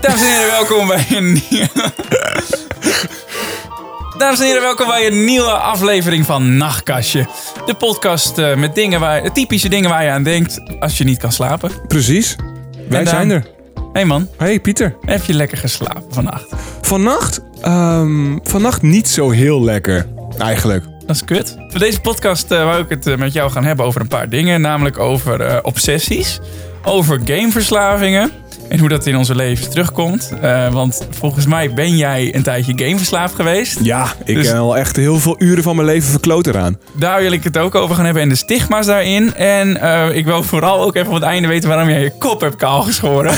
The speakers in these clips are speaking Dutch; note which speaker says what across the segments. Speaker 1: Dames en heren, welkom bij een nieuwe... Dames en heren, welkom bij een nieuwe aflevering van Nachtkastje. De podcast eh, met dingen waar, typische dingen waar je aan denkt als je niet kan slapen.
Speaker 2: Precies. Wij
Speaker 1: En,
Speaker 2: zijn
Speaker 1: eh,
Speaker 2: er.
Speaker 1: Hé hey man,
Speaker 2: Hey Pieter.
Speaker 1: heb je lekker geslapen vannacht?
Speaker 2: Vannacht? ehm, vannacht niet zo heel lekker. Eigenlijk.
Speaker 1: Dat is kut. Voor deze podcast eh wou ik het eh, met jou gaan hebben over een paar dingen. Namelijk over eh, obsessies, over gameverslavingen en hoe dat in onze levens terugkomt. Eh, want volgens mij ben jij een tijdje gameverslaafd geweest.
Speaker 2: Ja, ik
Speaker 1: Dus-
Speaker 2: ben al echt heel veel uren van mijn leven verkloot eraan.
Speaker 1: Daar wil ik het ook over gaan hebben en de stigma's daarin. En eh, ik wil vooral ook even op het einde weten waarom jij je kop hebt kaal geschoren.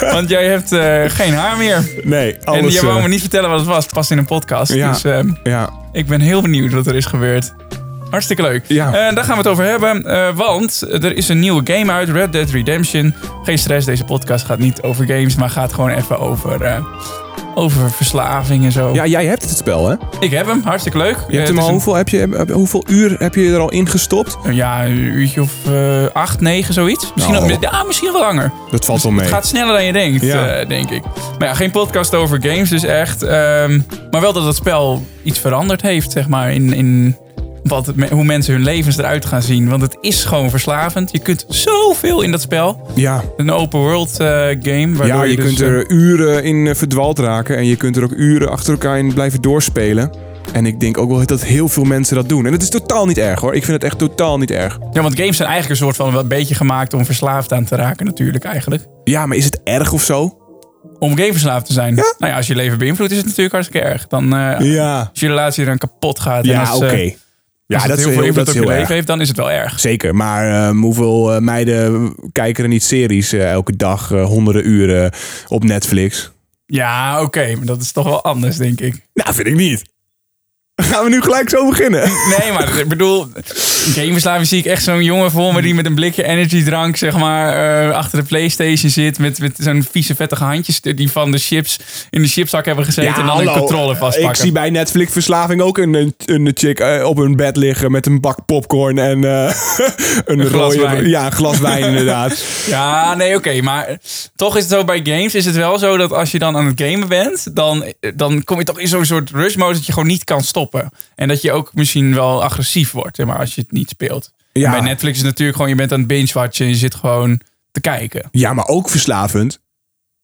Speaker 1: Want jij hebt eh, geen haar meer.
Speaker 2: Nee, alles...
Speaker 1: en jij wou
Speaker 2: eh,
Speaker 1: me niet vertellen wat het was. Het past in een podcast.
Speaker 2: Ja.
Speaker 1: Dus eh,
Speaker 2: Ja,
Speaker 1: ik ben heel benieuwd wat er is gebeurd. Hartstikke leuk.
Speaker 2: Ja.
Speaker 1: Eh, daar gaan we het over hebben. eh, want er is een nieuwe game uit, Red Dead Redemption. Geen stress, deze podcast gaat niet over games, maar gaat gewoon even over, eh, over verslaving en zo.
Speaker 2: ja, jij hebt het spel, hè?
Speaker 1: Ik heb hem, hartstikke leuk. Eh,
Speaker 2: Je hebt hem al, hoeveel, heb je, heb- hoeveel uur heb je er al in gestopt?
Speaker 1: Ja, een uurtje of eh, acht, negen, zoiets. Misschien,
Speaker 2: Nou.
Speaker 1: al- ja, misschien wel langer.
Speaker 2: Dat valt wel mee.
Speaker 1: Het gaat sneller dan je denkt,
Speaker 2: Ja.
Speaker 1: eh, denk ik. Maar ja, geen podcast over games dus echt. ehm, maar wel dat het spel iets veranderd heeft, zeg maar, in, in wat het me- hoe mensen hun levens eruit gaan zien. Want het is gewoon verslavend. Je kunt zoveel in dat spel.
Speaker 2: Ja,
Speaker 1: Een open world eh, game. waardoor
Speaker 2: ja je
Speaker 1: dus,
Speaker 2: kunt
Speaker 1: eh,
Speaker 2: er uren in eh, verdwaald raken. En je kunt er ook uren achter elkaar in blijven doorspelen. En ik denk ook wel dat heel veel mensen dat doen. En dat is totaal niet erg, hoor. Ik vind het echt totaal niet erg.
Speaker 1: Ja, want games zijn eigenlijk een soort van wel een beetje gemaakt om verslaafd aan te raken natuurlijk eigenlijk.
Speaker 2: Ja, maar is het erg of zo?
Speaker 1: Om gameverslaafd te zijn. Nou ja, als je leven beïnvloedt is het natuurlijk hartstikke erg. Dan, eh,
Speaker 2: Ja.
Speaker 1: als je relatie dan kapot gaat. en
Speaker 2: Ja,
Speaker 1: als,
Speaker 2: oké.
Speaker 1: eh,
Speaker 2: Ja,
Speaker 1: als
Speaker 2: dat
Speaker 1: het
Speaker 2: is
Speaker 1: heel veel
Speaker 2: heel, dat
Speaker 1: invloed op
Speaker 2: is
Speaker 1: je
Speaker 2: heel
Speaker 1: leven
Speaker 2: erg.
Speaker 1: heeft, dan is het wel erg.
Speaker 2: Zeker, maar ehm, hoeveel eh, meiden kijken er niet series eh, elke dag eh, honderden uren op Netflix?
Speaker 1: Ja, oké, maar dat is toch wel anders, denk ik.
Speaker 2: Nou, vind ik niet. Gaan we nu gelijk zo beginnen?
Speaker 1: Nee, maar ik bedoel, gameverslaving zie ik echt zo'n jongen voor me die met een blikje energiedrank, zeg maar, eh, achter de Playstation zit. Met, met zo'n vieze, vettige handjes die van de chips in de chipzak hebben gezeten en dan een controller vastpakken.
Speaker 2: Eh, Ik zie bij Netflix verslaving ook een, een, een chick eh, op een bed liggen met een bak popcorn en eh, een,
Speaker 1: glas
Speaker 2: rode,
Speaker 1: wijn.
Speaker 2: Ja, een glas wijn inderdaad.
Speaker 1: Ja, nee, oké, maar toch is het zo bij games, is het wel zo dat als je dan aan het gamen bent, dan, dan kom je toch in zo'n soort rush mode dat je gewoon niet kan stoppen. En dat je ook misschien wel agressief wordt, zeg maar als je het niet speelt.
Speaker 2: Ja.
Speaker 1: Bij Netflix is het natuurlijk gewoon, je bent aan het binge-watchen en je zit gewoon te kijken.
Speaker 2: Ja, maar ook verslavend.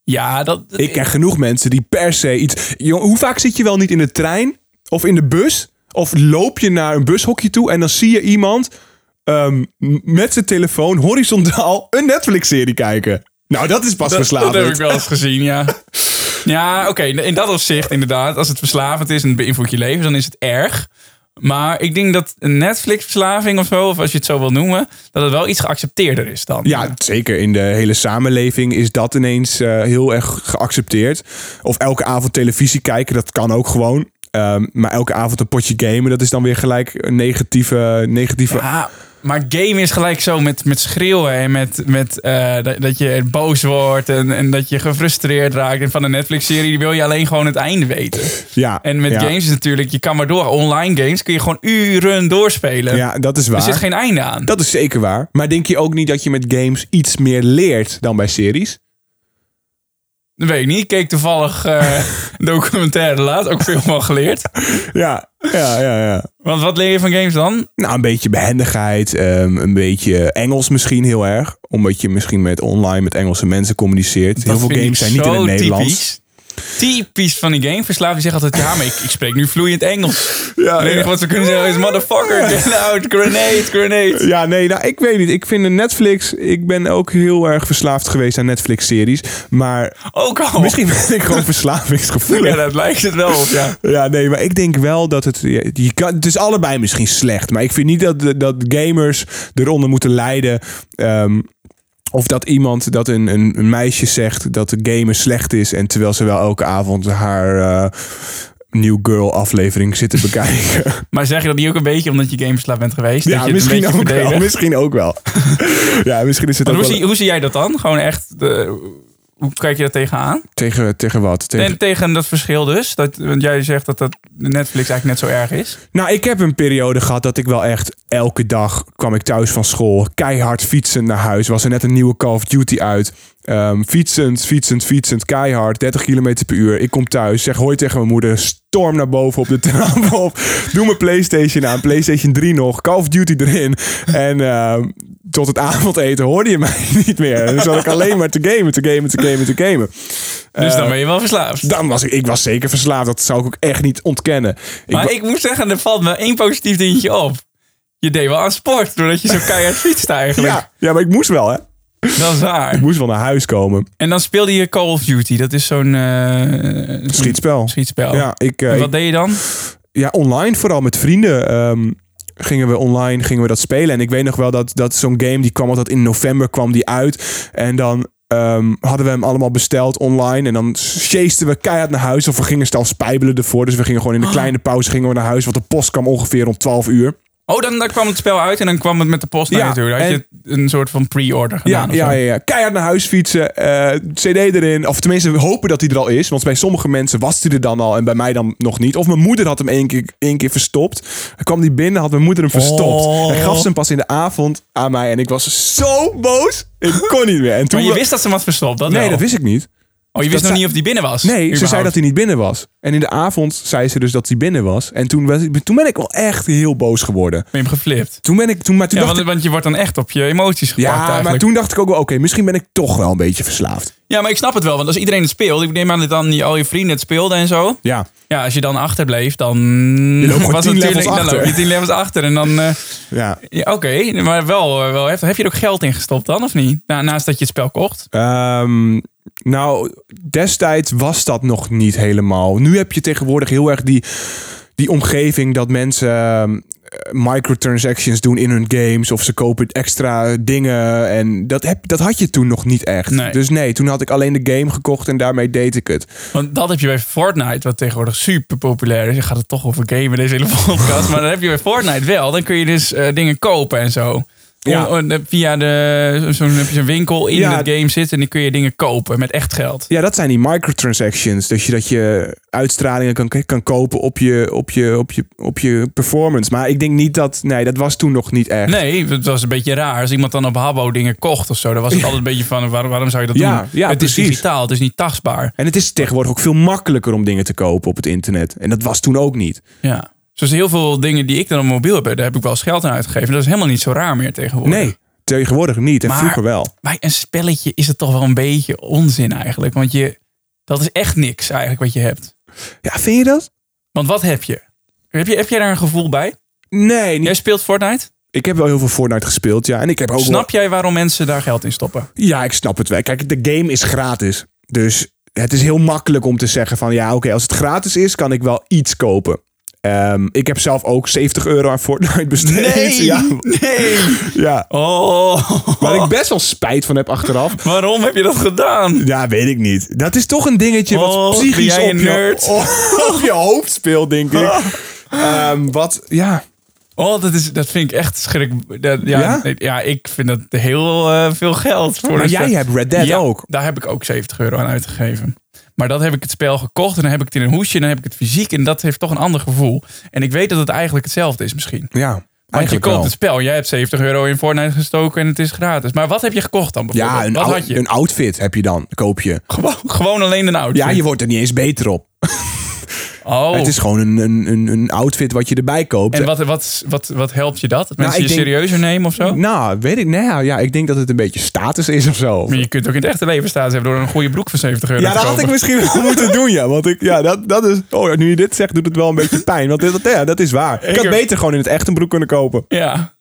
Speaker 1: Ja, dat...
Speaker 2: Ik ken genoeg mensen die per se iets. Jong, hoe vaak zit je wel niet in de trein of in de bus? Of loop je naar een bushokje toe en dan zie je iemand ehm, m- met zijn telefoon horizontaal een Netflix-serie kijken? Nou, dat is pas
Speaker 1: dat,
Speaker 2: verslavend.
Speaker 1: dat heb ik wel eens gezien, ja. Ja, oké, in dat opzicht inderdaad. Als het verslavend is en het beïnvloedt je leven, dan is het erg. Maar ik denk dat een Netflix-verslaving of zo, of als je het zo wil noemen, dat het wel iets geaccepteerder is dan.
Speaker 2: Ja, zeker. In de hele samenleving is dat ineens eh, heel erg geaccepteerd. Of elke avond televisie kijken, dat kan ook gewoon. Ehm, maar elke avond een potje gamen, dat is dan weer gelijk een negatieve. negatieve...
Speaker 1: Ja, Ah, maar game is gelijk zo met, met schreeuwen en met, met eh, dat, dat je boos wordt en, en dat je gefrustreerd raakt. En van een Netflix-serie wil je alleen gewoon het einde weten.
Speaker 2: Ja,
Speaker 1: En met
Speaker 2: ja.
Speaker 1: games is natuurlijk, je kan maar door. Online games kun je gewoon uren doorspelen.
Speaker 2: Ja, dat is waar.
Speaker 1: Er zit geen einde aan.
Speaker 2: Dat is zeker waar. Maar denk je ook niet dat je met games iets meer leert dan bij series?
Speaker 1: Dat weet ik niet. Ik keek toevallig eh, documentaire laat. Ook veel van geleerd.
Speaker 2: Ja, ja, ja. ja.
Speaker 1: Want wat leer je van games dan?
Speaker 2: Nou, een beetje behendigheid, ehm, een beetje Engels misschien heel erg. Omdat je misschien met online met Engelse mensen communiceert. heel
Speaker 1: Dat
Speaker 2: veel
Speaker 1: vind
Speaker 2: games
Speaker 1: ik
Speaker 2: zijn niet in
Speaker 1: zo
Speaker 2: het Nederlands.
Speaker 1: Typisch. Typisch van die gameverslaafd. Die zegt altijd, ja, maar ik, ik spreek nu vloeiend Engels.
Speaker 2: Oh, Ja,
Speaker 1: Het enige wat ze kunnen zeggen is, motherfucker, get out, grenade, grenade.
Speaker 2: Ja, nee, nou, ik weet niet. Ik vind Netflix... Ik ben ook heel erg verslaafd geweest aan Netflix-series. Maar
Speaker 1: Ook al.
Speaker 2: misschien ben ik gewoon
Speaker 1: Ja,
Speaker 2: verslavingsgevoelig.
Speaker 1: dat lijkt het wel op, ja.
Speaker 2: Ja, nee, maar ik denk wel dat het... ja, Je kan, het is allebei misschien slecht. Maar ik vind niet dat, dat gamers eronder moeten lijden... ehm, of dat iemand, dat een, een, een meisje zegt dat de gamen slecht is... en terwijl ze wel elke avond haar eh, New Girl aflevering zit te bekijken.
Speaker 1: Maar zeg je dat niet ook een beetje omdat je gameverslaafd bent geweest?
Speaker 2: ja,
Speaker 1: dat je
Speaker 2: misschien
Speaker 1: het een
Speaker 2: ook,
Speaker 1: beetje
Speaker 2: wel,
Speaker 1: verdedigt?
Speaker 2: misschien ook wel. ja, misschien is het
Speaker 1: Maar
Speaker 2: ook
Speaker 1: Hoe
Speaker 2: wel...
Speaker 1: zie, hoe zie jij dat dan? Gewoon echt, de, hoe kijk je daar tegenaan?
Speaker 2: Tegen, tegen wat? Tegen...
Speaker 1: En tegen dat verschil dus? Dat, want jij zegt dat, dat Netflix eigenlijk net zo erg is.
Speaker 2: Nou, ik heb een periode gehad dat ik wel echt elke dag kwam ik thuis van school. Keihard fietsen naar huis. Was er net een nieuwe Call of Duty uit. Ehm, fietsend, fietsend, fietsend, keihard, 30 km per uur. Ik kom thuis, zeg hoi tegen mijn moeder, storm naar boven op de trap op. Doe mijn Playstation aan, Playstation 3 nog, Call of Duty erin. En ehm, tot het avondeten hoorde je mij niet meer. Dan zat ik alleen maar te gamen, te gamen, te gamen, te gamen. Eh,
Speaker 1: Dus dan ben je wel verslaafd.
Speaker 2: Dan was ik, ik was zeker verslaafd, dat zou ik ook echt niet ontkennen. Ik
Speaker 1: Maar ik moet zeggen, er valt me één positief dingetje op. Je deed wel aan sport, doordat je zo keihard fietste eigenlijk.
Speaker 2: Ja, ja, maar ik moest wel, hè?
Speaker 1: Dat is waar.
Speaker 2: Ik moest wel naar huis komen.
Speaker 1: En dan speelde je Call of Duty. Dat is zo'n eh, zo'n
Speaker 2: Schietspel.
Speaker 1: schietspel.
Speaker 2: Ja, ik, eh,
Speaker 1: En wat deed je dan?
Speaker 2: ja, online vooral met vrienden. ehm, gingen we online gingen we dat spelen. En ik weet nog wel dat, dat zo'n game die kwam altijd in november kwam die uit. En dan ehm, hadden we hem allemaal besteld online. En dan chasten we keihard naar huis. Of we gingen zelfs spijbelen ervoor. Dus we gingen gewoon in de kleine pauze gingen we naar huis. Want de post kwam ongeveer om 12 uur.
Speaker 1: Oh, dan, dan kwam het spel uit en dan kwam het met de post naar
Speaker 2: Ja,
Speaker 1: je toe. Dan had
Speaker 2: en-
Speaker 1: je een soort van pre-order gedaan. of
Speaker 2: ja,
Speaker 1: zo.
Speaker 2: ja, ja. Keihard naar huis fietsen. eh, CD erin. Of tenminste, we hopen dat hij er al is. Want bij sommige mensen was hij er dan al en bij mij dan nog niet. Of mijn moeder had hem één keer, één keer verstopt. Dan kwam die binnen, had mijn moeder hem verstopt.
Speaker 1: Oh.
Speaker 2: En gaf ze hem pas in de avond aan mij. En ik was zo boos. Ik kon niet meer. En toen
Speaker 1: Maar je
Speaker 2: we-
Speaker 1: wist dat ze hem had verstopt, dat
Speaker 2: Nee,
Speaker 1: wel.
Speaker 2: dat wist ik niet.
Speaker 1: Oh, je wist
Speaker 2: dat
Speaker 1: nog
Speaker 2: zij-
Speaker 1: niet of die binnen was?
Speaker 2: Nee, ze
Speaker 1: überhaupt.
Speaker 2: zei dat hij niet binnen was. En in de avond zei ze dus dat hij binnen was. En toen, was, ik- toen ben ik wel echt heel boos geworden.
Speaker 1: Ben je hem geflipt?
Speaker 2: Toen ben ik, toen, maar toen
Speaker 1: Ja,
Speaker 2: dacht
Speaker 1: want,
Speaker 2: ik,
Speaker 1: want je wordt dan echt op je emoties gepakt
Speaker 2: ja
Speaker 1: eigenlijk.
Speaker 2: maar toen dacht ik ook wel, oké, misschien ben ik toch wel een beetje verslaafd.
Speaker 1: Ja, maar ik snap het wel. Want als iedereen het speelt... Ik neem aan dat dan je- al je vrienden het speelden en zo.
Speaker 2: Ja.
Speaker 1: Ja, als je dan achterbleef, dan...
Speaker 2: loopt gewoon
Speaker 1: was
Speaker 2: tien
Speaker 1: het natuurlijk-
Speaker 2: levels
Speaker 1: Dan
Speaker 2: achter.
Speaker 1: loop je tien levels achter. En dan... eh,
Speaker 2: Ja.
Speaker 1: ja, Oké, maar wel, eh, wel heftig. Heb je er ook geld in gestopt dan, of niet? Na- naast dat je het spel kocht?
Speaker 2: Ehm, nou, destijds was dat nog niet helemaal. Nu heb je tegenwoordig heel erg die, die omgeving dat mensen ehm, microtransactions doen in hun games of ze kopen extra dingen. En dat, heb, dat had je toen nog niet echt.
Speaker 1: Nee.
Speaker 2: Dus nee, toen had ik alleen de game gekocht en daarmee deed ik het.
Speaker 1: Want dat heb je bij Fortnite, wat tegenwoordig super populair is. Je gaat het toch over gamen, deze hele podcast. maar dat heb je bij Fortnite wel. Dan kun je dus eh, dingen kopen en zo.
Speaker 2: Ja.
Speaker 1: On- on- via de, zo- zo'n heb je zo'n winkel in
Speaker 2: Ja.
Speaker 1: het game zitten en dan kun je dingen kopen met echt geld.
Speaker 2: Ja, dat zijn die microtransactions. Dus je, dat je uitstralingen kan, kan kopen op je, op, je, op, je, op je performance. Maar ik denk niet dat... Nee, dat was toen nog niet echt.
Speaker 1: Nee, het was een beetje raar. Als iemand dan op Habbo dingen kocht of zo, dan was het altijd een beetje van waarom, waarom zou je dat
Speaker 2: Ja,
Speaker 1: doen?
Speaker 2: ja,
Speaker 1: het
Speaker 2: precies.
Speaker 1: is digitaal, het is niet tastbaar.
Speaker 2: En het is tegenwoordig ook veel makkelijker om dingen te kopen op het internet. En dat was toen ook niet.
Speaker 1: Ja. Zoals Dus heel veel dingen die ik dan op mobiel heb, daar heb ik wel eens geld aan uitgegeven. Dat is helemaal niet zo raar meer tegenwoordig.
Speaker 2: Nee, tegenwoordig niet. En
Speaker 1: Maar-
Speaker 2: vroeger wel.
Speaker 1: bij een spelletje is het toch wel een beetje onzin eigenlijk. Want je, dat is echt niks eigenlijk wat je hebt.
Speaker 2: Ja, vind je dat?
Speaker 1: Want wat heb je? Heb, je, heb jij daar een gevoel bij?
Speaker 2: Nee, niet.
Speaker 1: Jij speelt Fortnite.
Speaker 2: ik heb wel heel veel Fortnite gespeeld, ja. En ik heb ook
Speaker 1: Snap jij waarom mensen daar geld in stoppen?
Speaker 2: wel- Ja, ik snap het wel. Kijk, de game is gratis. Dus het is heel makkelijk om te zeggen van... Ja, oké, als het gratis is, kan ik wel iets kopen. Ehm, ik heb zelf ook 70 euro aan Fortnite besteed. Ja,
Speaker 1: nee.
Speaker 2: ja.
Speaker 1: Oh,
Speaker 2: Waar ik best wel spijt van heb achteraf.
Speaker 1: waarom heb je dat gedaan?
Speaker 2: Ja, weet ik niet. Dat is toch een dingetje
Speaker 1: Oh,
Speaker 2: wat
Speaker 1: ben
Speaker 2: psychisch
Speaker 1: jij
Speaker 2: op
Speaker 1: een
Speaker 2: je,
Speaker 1: nerd?
Speaker 2: op je hoofd speelt, denk ik. Ehm, wat, ja.
Speaker 1: Oh, dat, is, dat vind ik echt schrik. dat- ja,
Speaker 2: Ja?
Speaker 1: nee, ja, ik vind dat heel eh, veel geld. Voor
Speaker 2: Maar
Speaker 1: een
Speaker 2: jij
Speaker 1: spel.
Speaker 2: hebt Red Dead
Speaker 1: Ja,
Speaker 2: ook.
Speaker 1: Daar heb ik ook 70 euro aan uitgegeven. Maar dat heb ik het spel gekocht en dan heb ik het in een hoesje en dan heb ik het fysiek. En dat heeft toch een ander gevoel. En ik weet dat het eigenlijk hetzelfde is misschien.
Speaker 2: Ja,
Speaker 1: Want je
Speaker 2: eigenlijk
Speaker 1: koopt
Speaker 2: wel.
Speaker 1: het spel. Jij hebt 70 euro in Fortnite gestoken en het is gratis. Maar wat heb je gekocht dan bijvoorbeeld?
Speaker 2: Ja, een,
Speaker 1: wat
Speaker 2: ou-
Speaker 1: had je?
Speaker 2: een outfit heb je dan, koop je.
Speaker 1: Gewoon, gewoon alleen een outfit.
Speaker 2: Ja, je wordt er niet eens beter op.
Speaker 1: oh,
Speaker 2: Het is gewoon een, een, een, een outfit wat je erbij koopt.
Speaker 1: en wat, wat, wat, wat helpt je dat? Dat mensen
Speaker 2: Nou, ik
Speaker 1: je
Speaker 2: denk-
Speaker 1: serieuzer nemen of zo?
Speaker 2: Nou, weet ik. Nou ja, ik denk dat het een beetje status is of zo.
Speaker 1: Maar je kunt ook in het echte leven status hebben door een goede broek van 70 euro
Speaker 2: Ja,
Speaker 1: te
Speaker 2: dat had
Speaker 1: kopen.
Speaker 2: ik misschien wel moeten doen, ja. Want ik, ja, dat, dat is... Oh, ja, nu je dit zegt, doet het wel een beetje pijn. Want dit, dat- ja, dat is waar. Ik had
Speaker 1: heb-
Speaker 2: beter gewoon in het echt een broek kunnen kopen.
Speaker 1: ja.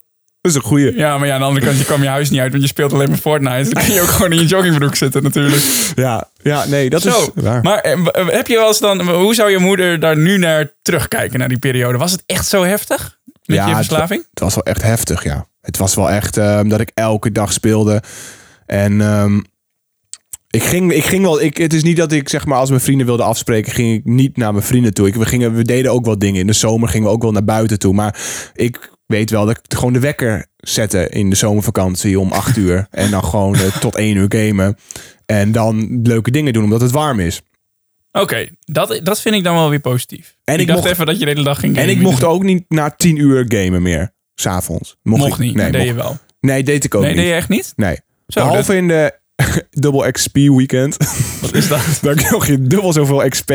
Speaker 2: Dat is een goeie.
Speaker 1: ja, maar ja, aan de andere kant, je kwam je huis niet uit, want je speelt alleen maar Fortnite. Dan kun je ook gewoon in je joggingbroek zitten natuurlijk.
Speaker 2: Ja, ja nee, dat
Speaker 1: Zo,
Speaker 2: is waar.
Speaker 1: maar eh, w- eh, heb je wel eens dan, hoe zou je moeder daar nu naar terugkijken, naar die periode? Was het echt zo heftig met
Speaker 2: Ja,
Speaker 1: je
Speaker 2: het-
Speaker 1: verslaving?
Speaker 2: Het was wel echt heftig, ja. Het was wel echt ehm, dat ik elke dag speelde. En ehm, ik, ging, ik ging wel... Ik, het is niet dat ik, zeg maar, als mijn vrienden wilden afspreken... ging ik niet naar mijn vrienden toe. Ik, we, gingen, we deden ook wel dingen. In de zomer gingen we ook wel naar buiten toe. Maar ik weet wel dat ik gewoon de wekker zette in de zomervakantie om acht uur. En dan gewoon eh, tot één uur gamen. En dan leuke dingen doen, omdat het warm is.
Speaker 1: Oké, dat, dat vind ik dan wel weer positief.
Speaker 2: En
Speaker 1: ik,
Speaker 2: ik
Speaker 1: dacht
Speaker 2: mocht-
Speaker 1: even dat je de hele dag ging
Speaker 2: En ik
Speaker 1: gamen.
Speaker 2: mocht ook niet na tien uur gamen meer. S'avonds.
Speaker 1: mocht niet,
Speaker 2: Nee,
Speaker 1: dat deed
Speaker 2: mocht-
Speaker 1: je wel.
Speaker 2: nee, deed ik ook
Speaker 1: Nee,
Speaker 2: niet.
Speaker 1: deed je echt niet?
Speaker 2: Nee.
Speaker 1: Zo,
Speaker 2: Behalve in de Double XP weekend.
Speaker 1: Wat is dat?
Speaker 2: Dan krijg je dubbel zoveel XP.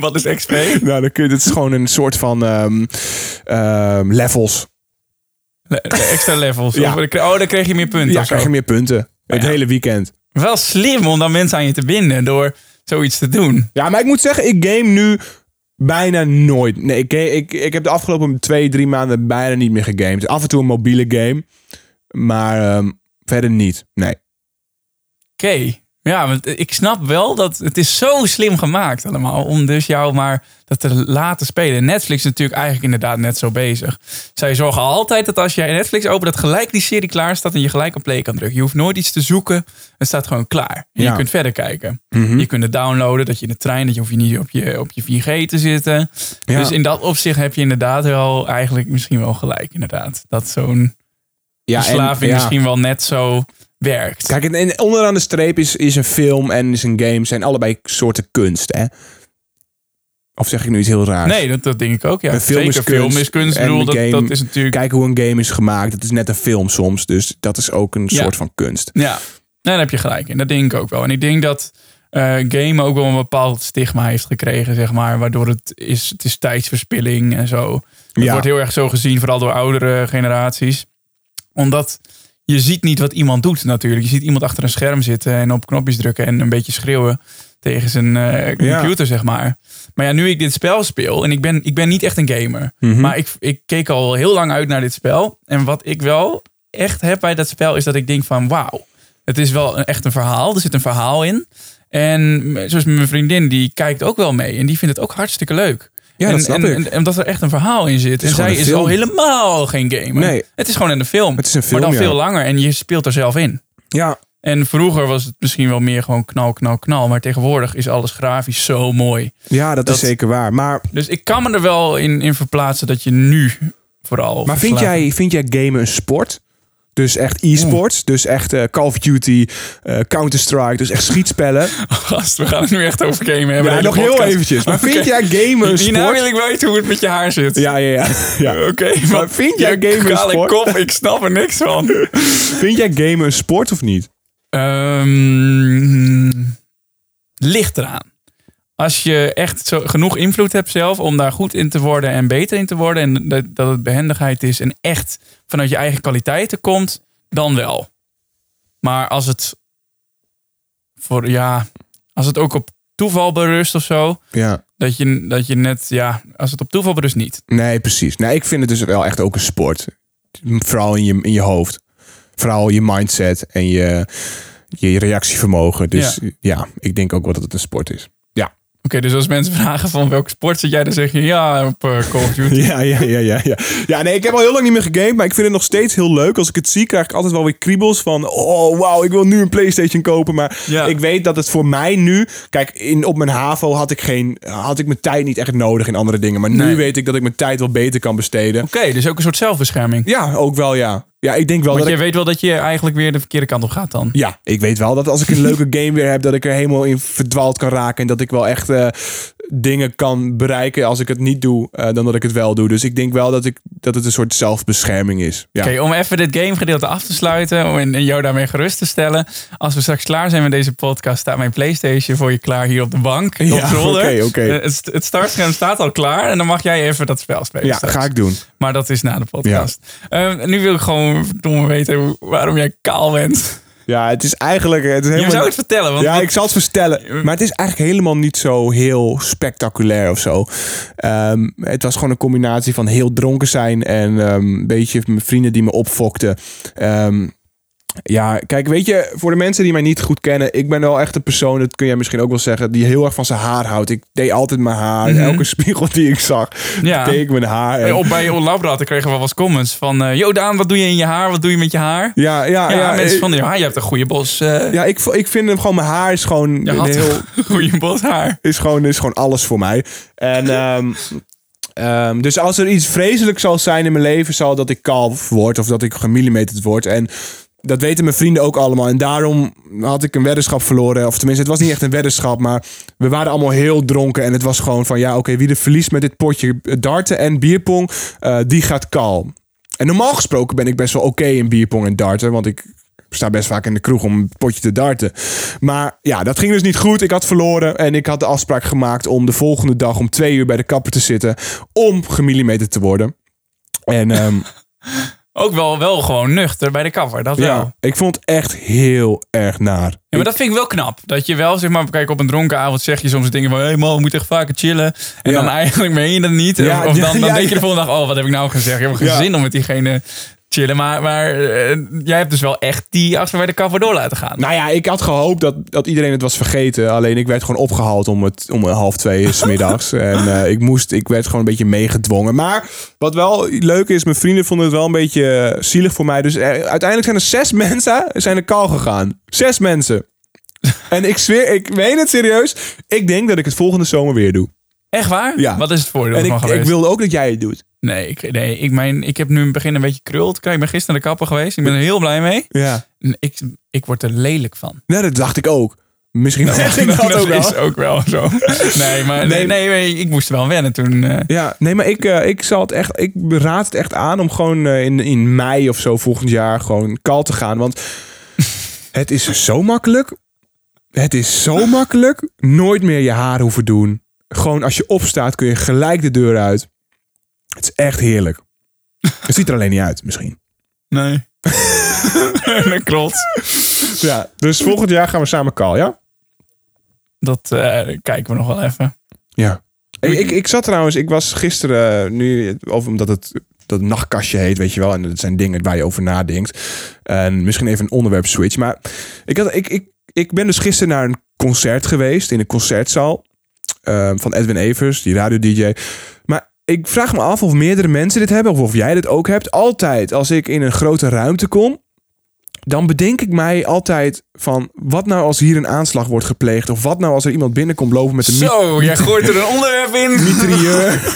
Speaker 1: Wat is XP?
Speaker 2: nou, dan kun je, dat is gewoon een soort van ehm, ehm, levels.
Speaker 1: Le- extra levels.
Speaker 2: Ja.
Speaker 1: Of- Oh, dan kreeg je meer punten.
Speaker 2: Ja,
Speaker 1: of zo.
Speaker 2: krijg je meer punten. Het
Speaker 1: ja.
Speaker 2: hele weekend.
Speaker 1: Wel slim om dan mensen aan je te binden door zoiets te doen.
Speaker 2: Ja, maar ik moet zeggen, ik game nu bijna nooit. Nee, ik, ik, ik heb de afgelopen twee, drie maanden bijna niet meer gegamed. Af en toe een mobiele game, maar ehm, verder niet. Nee.
Speaker 1: Oké. Ja, want ik snap wel dat het is zo slim gemaakt allemaal. Om dus jou maar dat te laten spelen. Netflix is natuurlijk eigenlijk inderdaad net zo bezig. Zij zorgen altijd dat als jij Netflix opent, dat gelijk die serie klaar staat en je gelijk op play kan drukken. Je hoeft nooit iets te zoeken. Het staat gewoon klaar. En
Speaker 2: Ja. Mhm.
Speaker 1: Je kunt verder kijken. Je kunt het downloaden, dat je in de trein, dat je hoef je niet op je, op je 4G te zitten.
Speaker 2: Ja.
Speaker 1: Dus in dat opzicht heb je inderdaad wel eigenlijk misschien wel gelijk. Inderdaad. Dat zo'n
Speaker 2: Ja, en-
Speaker 1: verslaving
Speaker 2: ja.
Speaker 1: misschien wel net zo werkt.
Speaker 2: Kijk, en, en onderaan de streep is, is een film en is een game. Zijn allebei soorten kunst, hè? Of zeg ik nu iets heel raars?
Speaker 1: Nee, dat, dat denk ik ook. Ja.
Speaker 2: Een film
Speaker 1: Zeker,
Speaker 2: is kunst
Speaker 1: film is kunst. Ik
Speaker 2: en
Speaker 1: bedoel,
Speaker 2: een
Speaker 1: dat,
Speaker 2: game-
Speaker 1: dat is natuurlijk...
Speaker 2: Kijk hoe een game is gemaakt. Het is net een film soms, dus dat is ook een
Speaker 1: Ja.
Speaker 2: soort van kunst.
Speaker 1: Ja, daar heb je gelijk in. Dat denk ik ook wel. En ik denk dat eh game ook wel een bepaald stigma heeft gekregen, zeg maar. Waardoor het is, het is tijdsverspilling en zo. Het
Speaker 2: Ja.
Speaker 1: wordt heel erg zo gezien, vooral door oudere generaties. Omdat je ziet niet wat iemand doet natuurlijk. Je ziet iemand achter een scherm zitten en op knopjes drukken en een beetje schreeuwen tegen zijn eh, computer, zeg maar. Maar ja, nu ik dit spel speel en ik ben, ik ben niet echt een gamer.
Speaker 2: Mhm.
Speaker 1: Maar ik, ik keek al heel lang uit naar dit spel. En wat ik wel echt heb bij dat spel is dat ik denk van wauw. Het is wel een, echt een verhaal. Er zit een verhaal in. En m- zoals mijn vriendin, die kijkt ook wel mee. En die vindt het ook hartstikke leuk.
Speaker 2: Ja,
Speaker 1: en,
Speaker 2: dat snap
Speaker 1: en,
Speaker 2: ik.
Speaker 1: en- en omdat er echt een verhaal in zit.
Speaker 2: is
Speaker 1: En
Speaker 2: gewoon
Speaker 1: zij
Speaker 2: een
Speaker 1: is
Speaker 2: film.
Speaker 1: al helemaal geen gamer.
Speaker 2: Nee.
Speaker 1: Het is gewoon een film.
Speaker 2: Het is een film,
Speaker 1: Maar dan
Speaker 2: ja.
Speaker 1: veel langer. En je speelt er zelf in.
Speaker 2: Ja,
Speaker 1: En vroeger was het misschien wel meer gewoon knal, knal, knal. Maar tegenwoordig is alles grafisch zo mooi.
Speaker 2: ja dat,
Speaker 1: Dat-
Speaker 2: is zeker waar. Maar,
Speaker 1: Dus ik kan me er wel in, in verplaatsen dat je nu vooral...
Speaker 2: maar vind,
Speaker 1: verslaafd
Speaker 2: jij, vind jij gamen een sport? Dus echt e-sports, dus echt eh, Call of Duty, eh, Counter-Strike, dus echt schietspellen.
Speaker 1: Gast, we gaan het nu echt over gamen hebben.
Speaker 2: ja,
Speaker 1: de hele
Speaker 2: nog heel
Speaker 1: Oh, podcast.
Speaker 2: eventjes. Maar
Speaker 1: Oké.
Speaker 2: vind jij gamen een
Speaker 1: Hierna
Speaker 2: sport?
Speaker 1: wil ik weten hoe het met je haar zit.
Speaker 2: Ja, ja, ja. ja.
Speaker 1: Oké,
Speaker 2: Maar vind jij
Speaker 1: je
Speaker 2: gamen een
Speaker 1: kale
Speaker 2: sport?
Speaker 1: kop, ik snap er niks van.
Speaker 2: Vind jij gamen een sport of niet?
Speaker 1: Ehm, ligt eraan. Als je echt zo genoeg invloed hebt zelf om daar goed in te worden en beter in te worden. En dat, dat het behendigheid is en echt vanuit je eigen kwaliteiten komt, dan wel. Maar als het voor ja, als het ook op toeval berust of zo,
Speaker 2: Ja.
Speaker 1: dat je, dat je net, ja, als het op toeval berust niet.
Speaker 2: Nee, precies. Nee, ik vind het dus wel echt ook een sport. Vooral in je, in je hoofd. Vooral je mindset en je, je reactievermogen. Dus ja. ik denk ook wel dat het een sport is. Ja.
Speaker 1: Oké, dus als mensen vragen van welke sport zit jij, dan zeg je ja op eh, Call of Duty.
Speaker 2: Ja, ja, ja, ja, ja. Ja, nee, ik heb al heel lang niet meer gegamed, maar ik vind het nog steeds heel leuk. Als ik het zie, krijg ik altijd wel weer kriebels van... Oh, wauw, ik wil nu een Playstation kopen. Maar
Speaker 1: Ja.
Speaker 2: ik weet dat het voor mij nu... Kijk, in, op mijn HAVO had ik, geen, had ik mijn tijd niet echt nodig in andere dingen. Maar nu
Speaker 1: Nee.
Speaker 2: weet ik dat ik mijn tijd wel beter kan besteden.
Speaker 1: Oké, dus ook een soort zelfbescherming.
Speaker 2: Ja, ook wel, ja. Ja, ik denk wel
Speaker 1: Want
Speaker 2: dat
Speaker 1: je
Speaker 2: ik...
Speaker 1: weet wel dat je eigenlijk weer de verkeerde kant op gaat dan.
Speaker 2: Ja, ik weet wel dat als ik een leuke game weer heb, dat ik er helemaal in verdwaald kan raken. En dat ik wel echt eh, dingen kan bereiken als ik het niet doe, eh, dan dat ik het wel doe. Dus ik denk wel dat, ik, dat het een soort zelfbescherming is. Ja.
Speaker 1: Oké, om even dit gamegedeelte af te sluiten om- en en jou daarmee gerust te stellen. Als we straks klaar zijn met deze podcast, staat mijn PlayStation voor je klaar hier op de bank.
Speaker 2: Ja,
Speaker 1: op zolder.
Speaker 2: oké, oké.
Speaker 1: Eh, Het, het startscherm staat al klaar en dan mag jij even dat spel spelen.
Speaker 2: Ja,
Speaker 1: straks.
Speaker 2: ga ik doen.
Speaker 1: Maar dat is na de podcast. Eh, nu wil ik gewoon verdomme weten hoe- waarom jij kaal bent.
Speaker 2: Ja, het is eigenlijk... Het is
Speaker 1: Je zou
Speaker 2: helemaal...
Speaker 1: het vertellen, want
Speaker 2: Ja, ik zal het vertellen. Maar het is eigenlijk helemaal niet zo heel spectaculair of zo. Ehm, het was gewoon een combinatie van heel dronken zijn en ehm, een beetje mijn vrienden die me opfokten. Ehm, ja, kijk, weet je, voor de mensen die mij niet goed kennen, ik ben wel echt een persoon, dat kun jij misschien ook wel zeggen, die heel erg van zijn haar houdt. Ik deed altijd mijn haar. Elke spiegel die ik zag,
Speaker 1: Mhm. Ja.
Speaker 2: deed ik mijn haar. En-
Speaker 1: Eh, Op, bij Olabraten kregen we wel eens comments van... eh Yo Daan, wat doe je in je haar? Wat doe je met je haar?
Speaker 2: ja, ja,
Speaker 1: Ja,
Speaker 2: ja, eh,
Speaker 1: mensen
Speaker 2: ik-
Speaker 1: van... Ja, je hebt een goede bos, eh
Speaker 2: ja ik, vo- ik vind hem gewoon, mijn haar is gewoon
Speaker 1: je
Speaker 2: een
Speaker 1: had
Speaker 2: heel...
Speaker 1: een goede bos haar.
Speaker 2: is gewoon, is gewoon alles voor mij. En, ehm, ehm, dus als er iets vreselijks zal zijn in mijn leven, zal dat ik kaal word of dat ik gemillimeterd word. En dat weten mijn vrienden ook allemaal. En daarom had ik een weddenschap verloren. Of tenminste, het was niet echt een weddenschap, maar we waren allemaal heel dronken. En het was gewoon van, ja, oké, wie er verliest met dit potje darten en bierpong, eh, die gaat kaal. En normaal gesproken ben ik best wel oké in bierpong en darten, want ik sta best vaak in de kroeg om een potje te darten. Maar ja, dat ging dus niet goed. Ik had verloren en ik had de afspraak gemaakt om de volgende dag om twee uur bij de kapper te zitten. Om gemillimeterd te worden. En ehm,
Speaker 1: Ook wel, wel gewoon nuchter bij de cover. Dat wel.
Speaker 2: ja, ik vond het echt heel erg naar.
Speaker 1: Ja, maar dat vind ik wel knap. Dat je wel, zeg maar, kijk, op een dronken avond zeg je soms dingen van... Hé hey man, we moeten echt vaker chillen. En
Speaker 2: Ja.
Speaker 1: dan eigenlijk meen je dat niet. Of-
Speaker 2: Ja,
Speaker 1: of dan, dan
Speaker 2: ja, ja,
Speaker 1: denk je
Speaker 2: ja.
Speaker 1: de volgende dag... Oh, wat heb ik nou gezegd? Ik heb geen
Speaker 2: Ja.
Speaker 1: zin om met diegene te chillen. Maar, maar eh, jij hebt dus wel echt die afspraak bij de cover door laten gaan.
Speaker 2: Nou ja, ik had gehoopt dat, dat iedereen het was vergeten. Alleen ik werd gewoon opgehaald om, het, om half twee 's middags. en eh, ik, moest, ik werd gewoon een beetje meegedwongen. Maar wat wel leuk is, mijn vrienden vonden het wel een beetje eh, zielig voor mij. Dus eh, uiteindelijk zijn er zes mensen zijn er kaal gegaan. Zes mensen. en ik zweer, ik meen het serieus. Ik denk dat ik het volgende zomer weer doe.
Speaker 1: Echt waar?
Speaker 2: Ja.
Speaker 1: Wat is het voordeel
Speaker 2: En
Speaker 1: van
Speaker 2: ik,
Speaker 1: geweest?
Speaker 2: ik wilde ook dat jij het doet.
Speaker 1: Nee, ik, nee ik, mijn, ik heb nu in het begin een beetje krult. Kijk, ik ben gisteren naar de kapper geweest. Ik ben er heel blij mee.
Speaker 2: Ja.
Speaker 1: En Ik, ik word er lelijk van.
Speaker 2: Nou, dat dacht ik ook. Misschien dacht ik dat ook wel.
Speaker 1: is ook wel zo. Nee, maar nee,
Speaker 2: Nee.
Speaker 1: nee, nee, ik moest er wel wennen toen... eh,
Speaker 2: Ja, nee, maar ik, eh, ik, zal het echt, ik raad het echt aan om gewoon eh, in, in mei of zo volgend jaar gewoon kal te gaan. Want het is zo makkelijk. Het is zo makkelijk. Nooit meer je haar hoeven doen. Gewoon als je opstaat kun je gelijk de deur uit. Het is echt heerlijk. Het ziet er alleen niet uit, misschien.
Speaker 1: Nee. dat klopt.
Speaker 2: Ja, dus volgend jaar gaan we samen kal, ja?
Speaker 1: Dat eh, kijken we nog wel even.
Speaker 2: Ja. Ik, ik, ik zat trouwens, ik was gisteren eh, nu, of omdat het dat nachtkastje heet, weet je wel, en dat zijn dingen waar je over nadenkt. En misschien even een onderwerp switch, maar ik, had, ik, ik, ik ben dus gisteren naar een concert geweest in een concertzaal eh, van Edwin Evers, die radio DJ. Maar ik vraag me af of meerdere mensen dit hebben, of of jij dit ook hebt. Altijd als ik in een grote ruimte kom, dan bedenk ik mij altijd van wat nou als hier een aanslag wordt gepleegd, of wat nou als er iemand binnenkomt lopen met een
Speaker 1: Zo, jij gooit er een onderwerp in.
Speaker 2: interieur.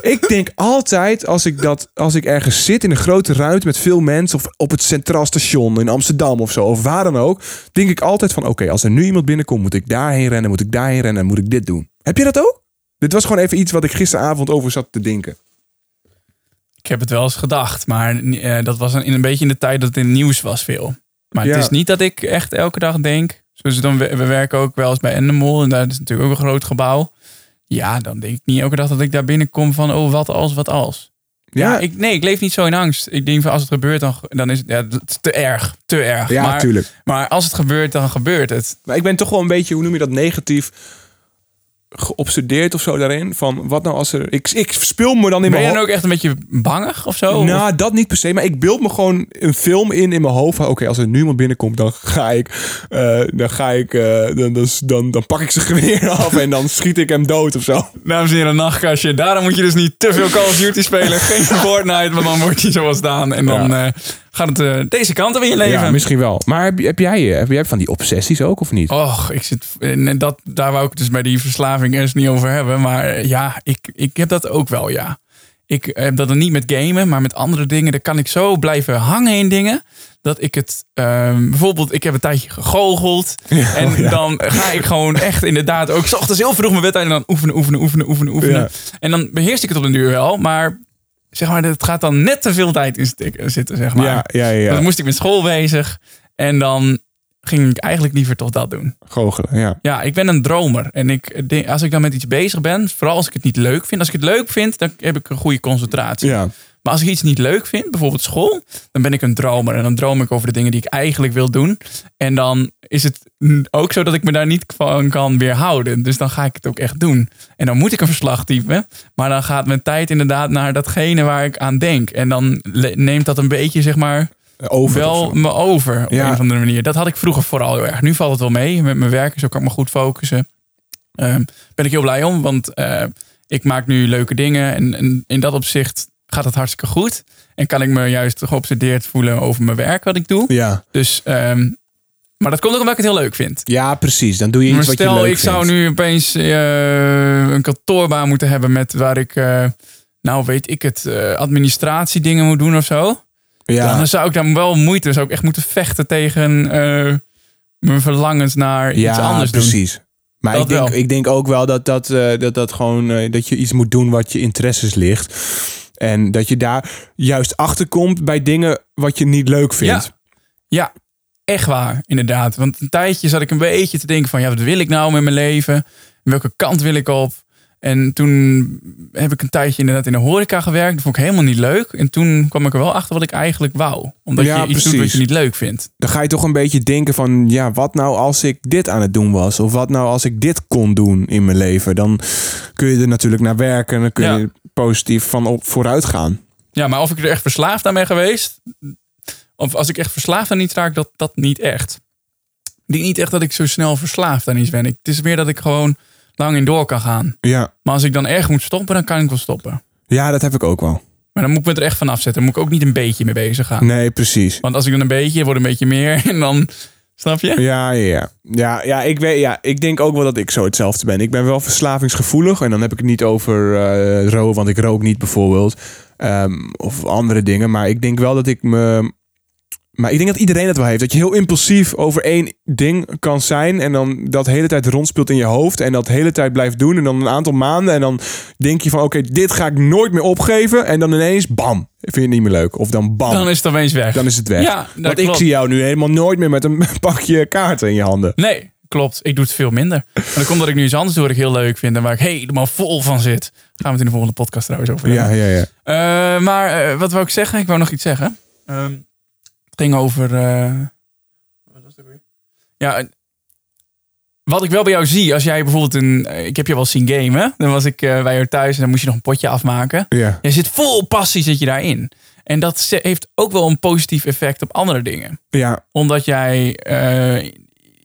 Speaker 2: ik denk altijd, als ik, dat, als ik ergens zit in een grote ruimte met veel mensen... of op het Centraal Station in Amsterdam of zo, of waar dan ook... denk ik altijd van, oké, als er nu iemand binnenkomt... moet ik daarheen rennen, moet ik daarheen rennen, moet ik dit doen. Heb je dat ook? Dit was gewoon even iets wat ik gisteravond over zat te denken.
Speaker 1: Ik heb het wel eens gedacht, maar eh, dat was een, in een beetje in de tijd dat het in het nieuws was veel. Maar
Speaker 2: Ja.
Speaker 1: het is niet dat ik echt elke dag denk. Zoals dan, we, we werken ook wel eens bij Endemol en daar is natuurlijk ook een groot gebouw. Ja, dan denk ik niet elke dag dat ik daar binnenkom van, oh, wat als, wat als. Ja, ik, nee, ik leef niet zo in angst. Ik denk van als het gebeurt, dan, dan is het, ja, het is te erg. Te erg.
Speaker 2: ja
Speaker 1: maar,
Speaker 2: tuurlijk.
Speaker 1: maar als het gebeurt, dan gebeurt het.
Speaker 2: Maar ik ben toch wel een beetje, hoe noem je dat, negatief geobsedeerd of zo daarin. Van wat nou als er... Ik, ik speel me dan
Speaker 1: Ben
Speaker 2: in mijn
Speaker 1: je
Speaker 2: hoofd.
Speaker 1: dan ook echt een beetje bangig of zo? Of-
Speaker 2: Nou, dat niet per se. Maar ik beeld me gewoon een film in in mijn hoofd. van, Oké, als er nu iemand binnenkomt, dan ga ik. eh, dan ga ik. eh, dan, dan, dan, dan pak ik zijn geweer af en dan schiet ik hem dood of zo.
Speaker 1: Dames en heren, nachtkastje. Daarom moet je dus niet te veel Call of Duty spelen. Geen Fortnite, want dan word je zoals Daan. En dan eh, gaat het eh, deze kant op in je leven.
Speaker 2: misschien wel. Maar heb, heb jij eh, heb jij van die obsessies ook of niet?
Speaker 1: Och, ik zit, en dat, daar wou ik het dus bij die verslaving eens niet over hebben. Maar eh, ja, ik, ik heb dat ook wel, ja. Ik heb dat dan niet met gamen, maar met andere dingen. Daar kan ik zo blijven hangen in dingen. Dat ik het, ehm, bijvoorbeeld, ik heb een tijdje gegoocheld. en dan ga ik gewoon echt inderdaad ook 's ochtends heel vroeg mijn bed uit. En dan oefenen, oefenen, oefenen, oefenen, oefenen.
Speaker 2: Ja.
Speaker 1: En dan beheerst ik het op een duur wel. Maar zeg maar, het gaat dan net te veel tijd in stik- zitten, zeg maar.
Speaker 2: ja, ja, ja.
Speaker 1: Dus Dan
Speaker 2: ja.
Speaker 1: moest ik met school bezig. En dan ging ik eigenlijk liever toch dat doen.
Speaker 2: Goochelen, ja.
Speaker 1: Ja, ik ben een dromer. En ik, denk- als ik dan met iets bezig ben, vooral als ik het niet leuk vind. Als ik het leuk vind, dan heb ik een goede concentratie.
Speaker 2: Ja.
Speaker 1: Maar als ik iets niet leuk vind, bijvoorbeeld school, dan ben ik een dromer. En dan droom ik over de dingen die ik eigenlijk wil doen. En dan is het mm, ook zo dat ik me daar niet van kan weerhouden. Dus dan ga ik het ook echt doen. En dan moet ik een verslag typen. Maar dan gaat mijn tijd inderdaad naar datgene waar ik aan denk. En dan le- neemt dat een beetje, zeg maar,
Speaker 2: Over. of
Speaker 1: wel
Speaker 2: zo.
Speaker 1: me over op
Speaker 2: Ja.
Speaker 1: een of andere manier. Dat had ik vroeger vooral heel erg. Nu valt het wel mee met mijn werk, zo kan ik me goed focussen. Ehm ben ik heel blij om, want eh, ik maak nu leuke dingen en, en in dat opzicht gaat het hartstikke goed. En kan ik me juist geobsedeerd voelen over mijn werk wat ik doe.
Speaker 2: Ja.
Speaker 1: Dus, ehm, maar dat komt ook omdat ik het heel leuk vind.
Speaker 2: ja, precies. Dan doe je iets
Speaker 1: Maar
Speaker 2: wat je
Speaker 1: stel,
Speaker 2: leuk
Speaker 1: ik zou
Speaker 2: vindt.
Speaker 1: nu opeens eh, een kantoorbaan moeten hebben met waar ik, eh, nou weet ik het, eh, administratiedingen moet doen of zo. Ja.
Speaker 2: Ja.
Speaker 1: Dan zou ik dan wel moeite, zou ik echt moeten vechten tegen eh, mijn verlangens naar iets anders doen.
Speaker 2: precies. Maar
Speaker 1: Dat
Speaker 2: ik denk,
Speaker 1: wel.
Speaker 2: ik denk ook wel dat dat, eh, dat, dat, gewoon, eh, dat je iets moet doen wat je interesses ligt. En dat je daar juist achter komt bij dingen wat je niet leuk vindt.
Speaker 1: Ja. echt waar, inderdaad. Want een tijdje zat ik een beetje te denken van... ja, wat wil ik nou met mijn leven? En welke kant wil ik op? En toen heb ik een tijdje inderdaad in de horeca gewerkt. Dat vond ik helemaal niet leuk. En toen kwam ik er wel achter wat ik eigenlijk wou. Omdat
Speaker 2: Ja,
Speaker 1: je iets doet wat
Speaker 2: precies.
Speaker 1: je niet leuk vindt.
Speaker 2: Dan ga je toch een beetje denken van, ja, wat nou als ik dit aan het doen was? Of wat nou als ik dit kon doen in mijn leven? Dan kun je er natuurlijk naar werken en dan kun
Speaker 1: Ja.
Speaker 2: je positief van op vooruit gaan.
Speaker 1: Ja, maar of ik er echt verslaafd aan ben geweest... of als ik echt verslaafd aan iets raak, dat, dat niet echt. Ik denk niet echt dat ik zo snel verslaafd aan iets ben. Ik- Het is meer dat ik gewoon lang in door kan gaan.
Speaker 2: Ja.
Speaker 1: Maar als ik dan echt moet stoppen, dan kan ik wel stoppen.
Speaker 2: ja, dat heb ik ook wel.
Speaker 1: Maar dan moet ik me er echt van afzetten. Dan moet ik ook niet een beetje mee bezig gaan.
Speaker 2: Nee, precies.
Speaker 1: Want als ik dan een beetje, wordt een beetje meer. En dan, snap je?
Speaker 2: Ja, ja, ja. Ja, ja, ik weet, ja, ik denk ook wel dat ik zo hetzelfde ben. Ik ben wel verslavingsgevoelig. En dan heb ik het niet over eh roken, want ik rook niet bijvoorbeeld. Ehm, of andere dingen. Maar ik denk wel dat ik me... Maar ik denk dat iedereen dat wel heeft. Dat je heel impulsief over één ding kan zijn. En dan dat hele tijd rondspeelt in je hoofd. En dat hele tijd blijft doen. En dan een aantal maanden. En dan denk je van oké, dit ga ik nooit meer opgeven. En dan ineens bam. Vind je het niet meer leuk. Of dan bam.
Speaker 1: Dan is het opeens weg.
Speaker 2: Dan is het weg.
Speaker 1: Ja, dat
Speaker 2: Want ik
Speaker 1: klopt.
Speaker 2: zie jou nu helemaal nooit meer met een pakje kaarten in je handen.
Speaker 1: Nee, klopt. Ik doe het veel minder. Maar dat komt dat ik nu iets anders doe wat ik heel leuk vind. En waar ik helemaal vol van zit. Daar gaan we het in de volgende podcast trouwens over hebben.
Speaker 2: Ja, ja, ja.
Speaker 1: Eh, maar eh, wat wou ik zeggen? Ik wou nog iets zeggen. Ehm, het ging over... eh, wat was het ook weer? Ja, eh, wat ik wel bij jou zie, als jij bijvoorbeeld een... eh, Ik heb je wel eens zien gamen. Dan was ik eh, bij jou thuis en dan moest je nog een potje afmaken.
Speaker 2: Ja,
Speaker 1: Je zit vol passie zit je daarin. En dat ze- heeft ook wel een positief effect op andere dingen.
Speaker 2: ja,
Speaker 1: Omdat jij eh,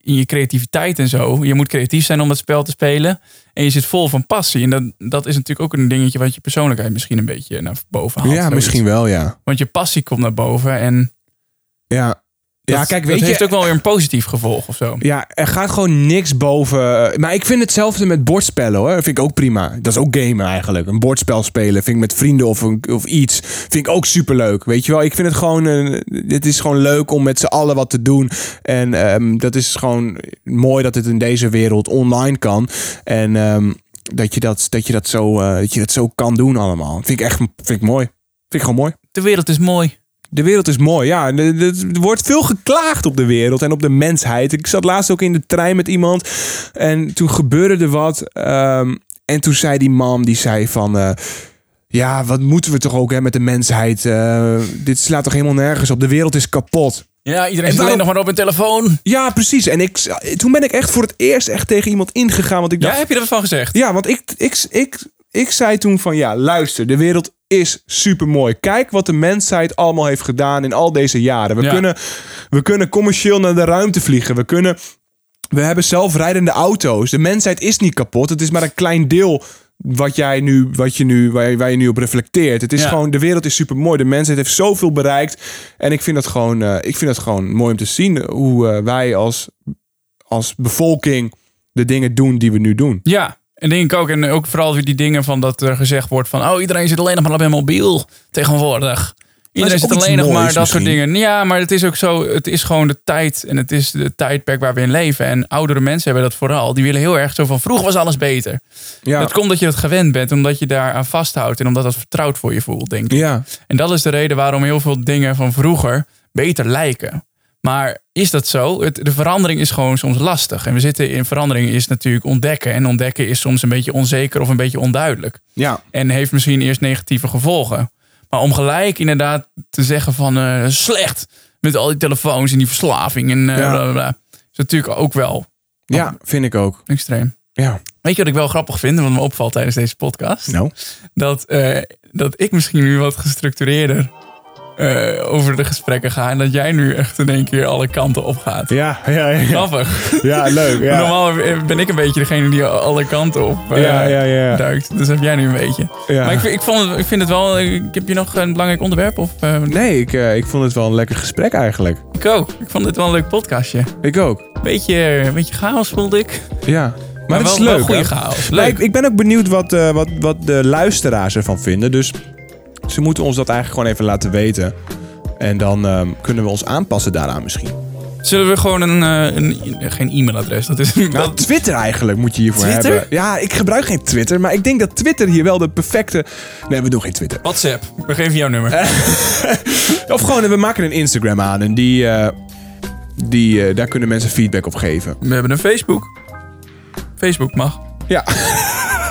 Speaker 1: in je creativiteit en zo... Je moet creatief zijn om dat spel te spelen. En je zit vol van passie. En dat, dat is natuurlijk ook een dingetje... wat je persoonlijkheid misschien een beetje naar boven haalt.
Speaker 2: ja
Speaker 1: zoiets.
Speaker 2: misschien wel, ja.
Speaker 1: Want je passie komt naar boven. En
Speaker 2: Ja,
Speaker 1: dat,
Speaker 2: ja kijk,
Speaker 1: dat
Speaker 2: weet je...
Speaker 1: heeft ook wel weer een positief gevolg of zo.
Speaker 2: Ja, er gaat gewoon niks boven. eh, Maar ik vind hetzelfde met bordspellen hoor. Vind ik ook prima. Dat is ook gamen eigenlijk. Een bordspel spelen vind ik met vrienden of, een- of iets. Vind ik ook superleuk. Weet je wel, ik vind het gewoon. eh, het is gewoon leuk om met z'n allen wat te doen. En ehm, dat is gewoon mooi dat het in deze wereld online kan. En ehm, dat, je dat, dat, je dat, zo, eh, dat je dat zo kan doen allemaal. Vind ik echt vind ik mooi. Vind ik gewoon mooi.
Speaker 1: De wereld is mooi.
Speaker 2: De wereld is mooi, ja. Er er wordt veel geklaagd op de wereld en op de mensheid. Ik zat laatst ook in de trein met iemand en toen gebeurde er wat. ehm, en toen zei die man, die zei van... eh, ja, wat moeten we toch ook hè, met de mensheid? Eh, dit slaat toch helemaal nergens op? De wereld is kapot.
Speaker 1: Ja, iedereen
Speaker 2: En
Speaker 1: zit alleen
Speaker 2: waarom-
Speaker 1: nog maar op een telefoon.
Speaker 2: Ja, precies. En ik, toen ben ik echt voor het eerst echt tegen iemand ingegaan. Want ik
Speaker 1: Ja,
Speaker 2: dacht,
Speaker 1: heb je dat van gezegd?
Speaker 2: ja, want ik, ik, ik, ik zei toen van ja, luister, de wereld is supermooi. Kijk wat de mensheid allemaal heeft gedaan in al deze jaren. We,
Speaker 1: Ja.
Speaker 2: kunnen, we kunnen commercieel naar de ruimte vliegen. We kunnen. We hebben zelfrijdende auto's. De mensheid is niet kapot. Het is maar een klein deel wat jij nu, wat je nu, waar, je, waar je nu op reflecteert. Het is
Speaker 1: Ja.
Speaker 2: gewoon, de wereld is supermooi. De mensheid heeft zoveel bereikt. En ik vind dat gewoon, eh, ik vind dat gewoon mooi om te zien hoe eh, wij als, als bevolking de dingen doen die we nu doen.
Speaker 1: Ja, en denk ik ook. En ook vooral weer die dingen van dat er gezegd wordt van... oh, iedereen zit alleen nog maar op mijn mobiel tegenwoordig. Iedereen
Speaker 2: ook
Speaker 1: zit
Speaker 2: iets
Speaker 1: alleen nog
Speaker 2: moois
Speaker 1: maar dat soort
Speaker 2: misschien.
Speaker 1: dingen. Ja, maar het is ook zo. Het is gewoon de tijd en het is de tijdperk waar we in leven. En oudere mensen hebben dat vooral. Die willen heel erg zo van vroeger was alles beter.
Speaker 2: Ja.
Speaker 1: Dat komt dat je dat gewend bent, omdat je daar aan vasthoudt. En omdat dat vertrouwd voor je voelt, denk ik.
Speaker 2: Ja,
Speaker 1: En dat is de reden waarom heel veel dingen van vroeger beter lijken. Maar is dat zo? Het, de verandering is gewoon soms lastig. En we zitten in verandering is natuurlijk ontdekken. En ontdekken is soms een beetje onzeker of een beetje onduidelijk.
Speaker 2: ja,
Speaker 1: En heeft misschien eerst negatieve gevolgen. Maar om gelijk inderdaad te zeggen van eh, slecht met al die telefoons en die verslaving en eh
Speaker 2: Ja.
Speaker 1: bla, bla, bla, is natuurlijk ook wel
Speaker 2: ja, vind ik ook.
Speaker 1: extreem.
Speaker 2: Ja.
Speaker 1: Weet je wat ik wel grappig vind, wat me opvalt tijdens deze podcast?
Speaker 2: Nou.
Speaker 1: dat, eh, dat ik misschien nu wat gestructureerder eh, over de gesprekken ga. En dat jij nu echt in één keer alle kanten op gaat.
Speaker 2: Ja, ja, ja.
Speaker 1: Grappig.
Speaker 2: Ja, leuk. Ja,
Speaker 1: Normaal ben ik een beetje degene die alle kanten op eh,
Speaker 2: ja, ja. ja,
Speaker 1: duikt. Dus heb jij nu een beetje.
Speaker 2: ja.
Speaker 1: Maar ik, vind- ik, vond, ik vind het wel... Ik heb je nog een belangrijk onderwerp? Of, eh,
Speaker 2: Nee, ik, eh, ik vond het wel een lekker gesprek eigenlijk.
Speaker 1: ik ook. Ik vond dit wel een leuk podcastje.
Speaker 2: Ik ook.
Speaker 1: Beetje, beetje chaos voelde ik.
Speaker 2: Ja. Maar, het
Speaker 1: wel,
Speaker 2: is
Speaker 1: wel
Speaker 2: leuk.
Speaker 1: goede
Speaker 2: hè?
Speaker 1: chaos.
Speaker 2: Maar
Speaker 1: Leuk.
Speaker 2: ik, ik ben ook benieuwd wat, eh, wat, wat de luisteraars ervan vinden. Dus ze moeten ons dat eigenlijk gewoon even laten weten. En dan ehm, kunnen we ons aanpassen daaraan misschien.
Speaker 1: Zullen we gewoon een... eh, een geen e-mailadres. Dat is...
Speaker 2: Nou,
Speaker 1: dat,
Speaker 2: Twitter eigenlijk moet je hiervoor
Speaker 1: Twitter?
Speaker 2: hebben. Ja, ik gebruik geen Twitter, maar ik denk dat Twitter hier wel de perfecte... Nee, we doen geen Twitter.
Speaker 1: WhatsApp. We geven jouw nummer.
Speaker 2: Of gewoon, we maken een Instagram aan en die, eh, Die, eh, daar kunnen mensen feedback op geven.
Speaker 1: We hebben een Facebook. Facebook mag.
Speaker 2: Ja.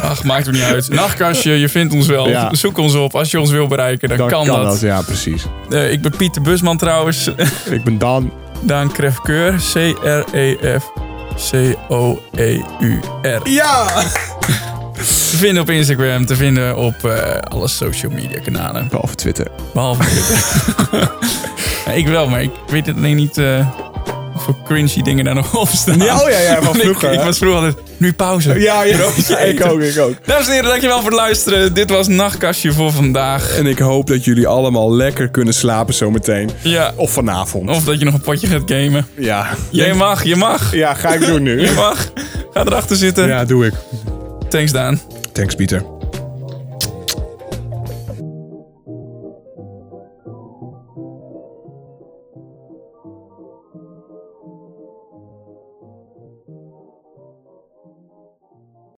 Speaker 1: Ach, maakt het niet uit. Nachtkastje, je vindt ons wel.
Speaker 2: Ja.
Speaker 1: Zoek ons op. Als je ons wil bereiken, dan, kan, dat.
Speaker 2: Ja, precies.
Speaker 1: Eh, ik ben Pieter Busman trouwens.
Speaker 2: Ik ben Dan.
Speaker 1: Daan Krefkeur. E C-R-E-F-C-O-E-U-R.
Speaker 2: Ja!
Speaker 1: E Te vinden op Instagram, te vinden op eh, alle social media kanalen.
Speaker 2: Behalve Twitter.
Speaker 1: Behalve Twitter. Ja, ik wel, maar ik weet het alleen niet eh wat voor cringy dingen daar nog op staan.
Speaker 2: Ja, oh ja, ja, van
Speaker 1: Want ik-
Speaker 2: vroeger,
Speaker 1: Ik,
Speaker 2: hè?
Speaker 1: was vroeger altijd, nu pauze.
Speaker 2: Ja, ja,
Speaker 1: Broodje
Speaker 2: ja, ik
Speaker 1: eten.
Speaker 2: ook, ik ook.
Speaker 1: Dames en heren, dankjewel voor het luisteren. Dit was Nachtkastje voor vandaag.
Speaker 2: En ik hoop dat jullie allemaal lekker kunnen slapen zometeen.
Speaker 1: Ja,
Speaker 2: Of vanavond.
Speaker 1: of dat je nog een potje gaat gamen.
Speaker 2: Ja.
Speaker 1: Jij mag, je mag.
Speaker 2: Ja, ga ik doen nu.
Speaker 1: Je mag. Ga erachter zitten.
Speaker 2: Ja, doe ik.
Speaker 1: Thanks Daan.
Speaker 2: Thanks, Pieter.